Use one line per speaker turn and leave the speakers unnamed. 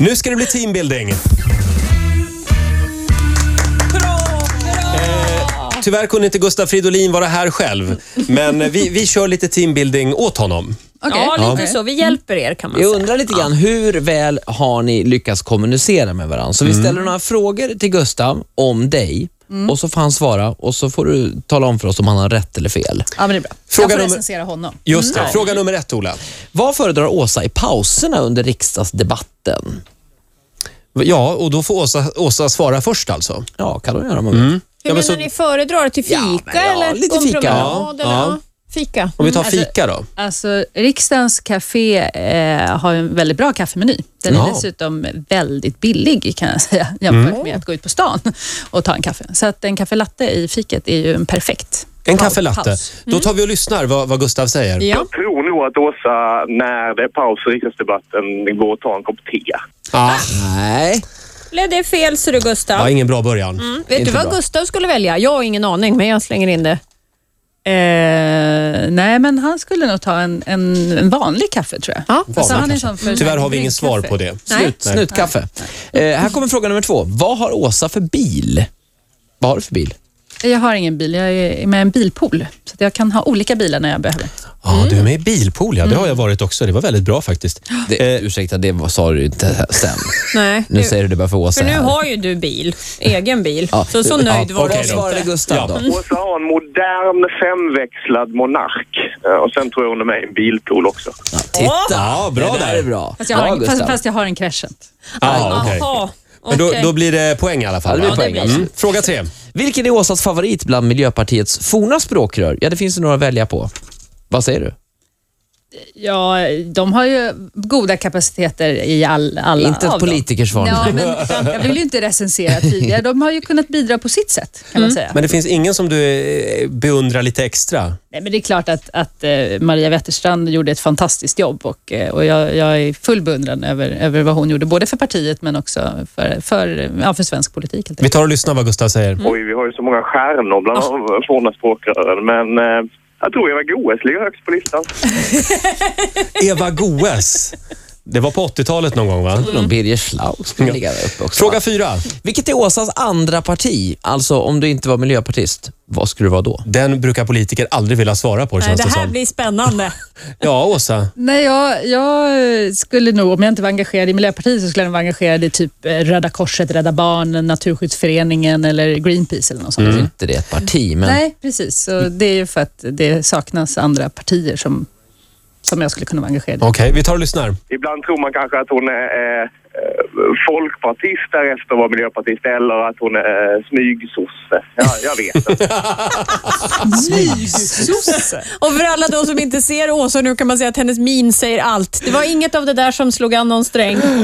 Nu ska det bli teambuilding. Eh, Tyvärr kunde inte Gustav Fridolin vara här själv, men vi, vi kör lite teambuilding åt honom.
Okej.
Ja, lite så. Vi hjälper er kan man
Jag
säga.
undrar lite grann, hur väl har ni lyckats kommunicera med varandra? Så vi
Mm.
ställer några frågor till Gustav om dig
Mm.
och så får han svara och så får du tala om för oss om han har rätt eller fel.
Ja, men det är bra.
Fråga
jag får
nummer-
recensera honom.
Just det. Fråga nummer ett, Ola.
Vad föredrar Åsa i pauserna under riksdagsdebatten?
Ja, och då får Åsa, Åsa svara först alltså.
Ja, kan hon göra om hon vill.
Hur
Ja, men
menar
så-
ni? Föredrar till fika
Ja, men ja,
eller
lite
gå en
fika,
promenad?
ja,
eller?
ja.
Ja. Fika.
Om vi tar
alltså-
fika då.
Alltså, riksdagens café eh, har en väldigt bra kaffemeny. Den
Ja. Mm.
är dessutom väldigt billig kan jag säga jämfört med att gå ut på stan och ta en kaffe. Så att en kaffe latte i fiket är ju en perfekt
En
paus-
kaffelatte.
paus.
Då tar vi och lyssnar vad, vad Gustav säger.
Ja.
Jag tror nog att Åsa, när det är paus i riksdagsdebatten, går och tar en kopp te.
Ah,
Nej.
Blev det fel ser du Gustav?
ja, ingen bra början.
Vet
Mm.
inte
du vad
bra.
Gustav skulle välja? Jag har ingen aning, men jag slänger in det.
Eh, nej, men han skulle nog ta en, en, en vanlig kaffe tror jag.
Ja.
Alltså, han är
Vanlig
sån för
Tyvärr har vi ingen svar på det.
Nej.
Snut, snutkaffe. Eh, här kommer fråga nummer två. Vad har Åsa för bil? Vad har du för bil?
Jag har ingen bil, jag är med i en bilpool. Så att jag kan ha olika bilar när jag behöver.
Ja, du är med i Bilpool, ja. Det har jag varit också. Det var väldigt bra faktiskt.
Mm. Det, ursäkta, det var- sa du inte sen.
Nej.
Nu säger du det bara för Åsa
För nu
här.
har ju du bil, egen bil.
Ja.
Så så nöjd var
Ja, Vad
okej
du.
då.
svarade Gustav
Ja.
då?
Åsa har en modern femväxlad monark. Eh, Och sen tror jag hon är med i en bilpool också.
Titta,
Ja, bra
det där
där.
är bra.
Fast jag har,
ja,
en, fast,
Gustav.
fast jag har en crescent.
Ah, okej.
Jaha.
Men då,
okej.
då blir det poäng i alla fall.
Ja, det
va?
blir poäng.
blir
alltså.
Mm. Fråga tre.
Vilken är Åsas favorit bland Miljöpartiets forna språkrör? Ja, det finns ju några att välja på. Vad säger du?
Ja, de har ju goda kapaciteter i all, alla
Inte
av dem.
ett politikersvar.
Ja, men jag vill ju inte recensera tidigare. De har ju kunnat bidra på sitt sätt, kan man säga.
Men det finns ingen som du eh, beundrar lite extra?
Nej, men det är klart att, att eh, Maria Wetterstrand gjorde ett fantastiskt jobb och, eh, och jag, jag är full beundran över, över vad hon gjorde, både för partiet men också för, för, ja, för svensk politik. Helt
Vi
enkelt.
tar och lyssnar vad Gustav säger.
Oj, vi har ju så många stjärnor bland de forna språkrören. Men eh, jag tror Eva Goes ligger högst på listan.
Eva Goes. Det var på 80-talet någon gång, va?
Någon Birger Schlaug skulle ligga där uppe också.
Fråga fyra.
Vilket är Åsas andra parti? Alltså, om du inte var miljöpartist, vad skulle du vara då?
Den brukar politiker aldrig vilja svara på,
Nej,
känns det,
det här
som.
blir spännande.
Ja, Åsa.
Nej, jag, jag skulle nog, om jag inte var engagerad i Miljöpartiet, så skulle jag nog vara engagerad i typ eh, Röda Korset, Rädda Barnen, Naturskyddsföreningen eller Greenpeace eller något sånt.
Inte det är ett parti, men
Nej, precis. Så det är ju för att det saknas andra partier som, som jag skulle kunna vara engagerad i.
Okej, vi tar och lyssnar.
Ibland tror man kanske att hon är eh, eh, folkpartist därefter var miljöpartist eller att hon är eh, smygsosse. Ja, jag vet inte.
Och för alla de som inte ser Åsa nu kan man säga att hennes min säger allt. Det var inget av det där som slog an någon sträng.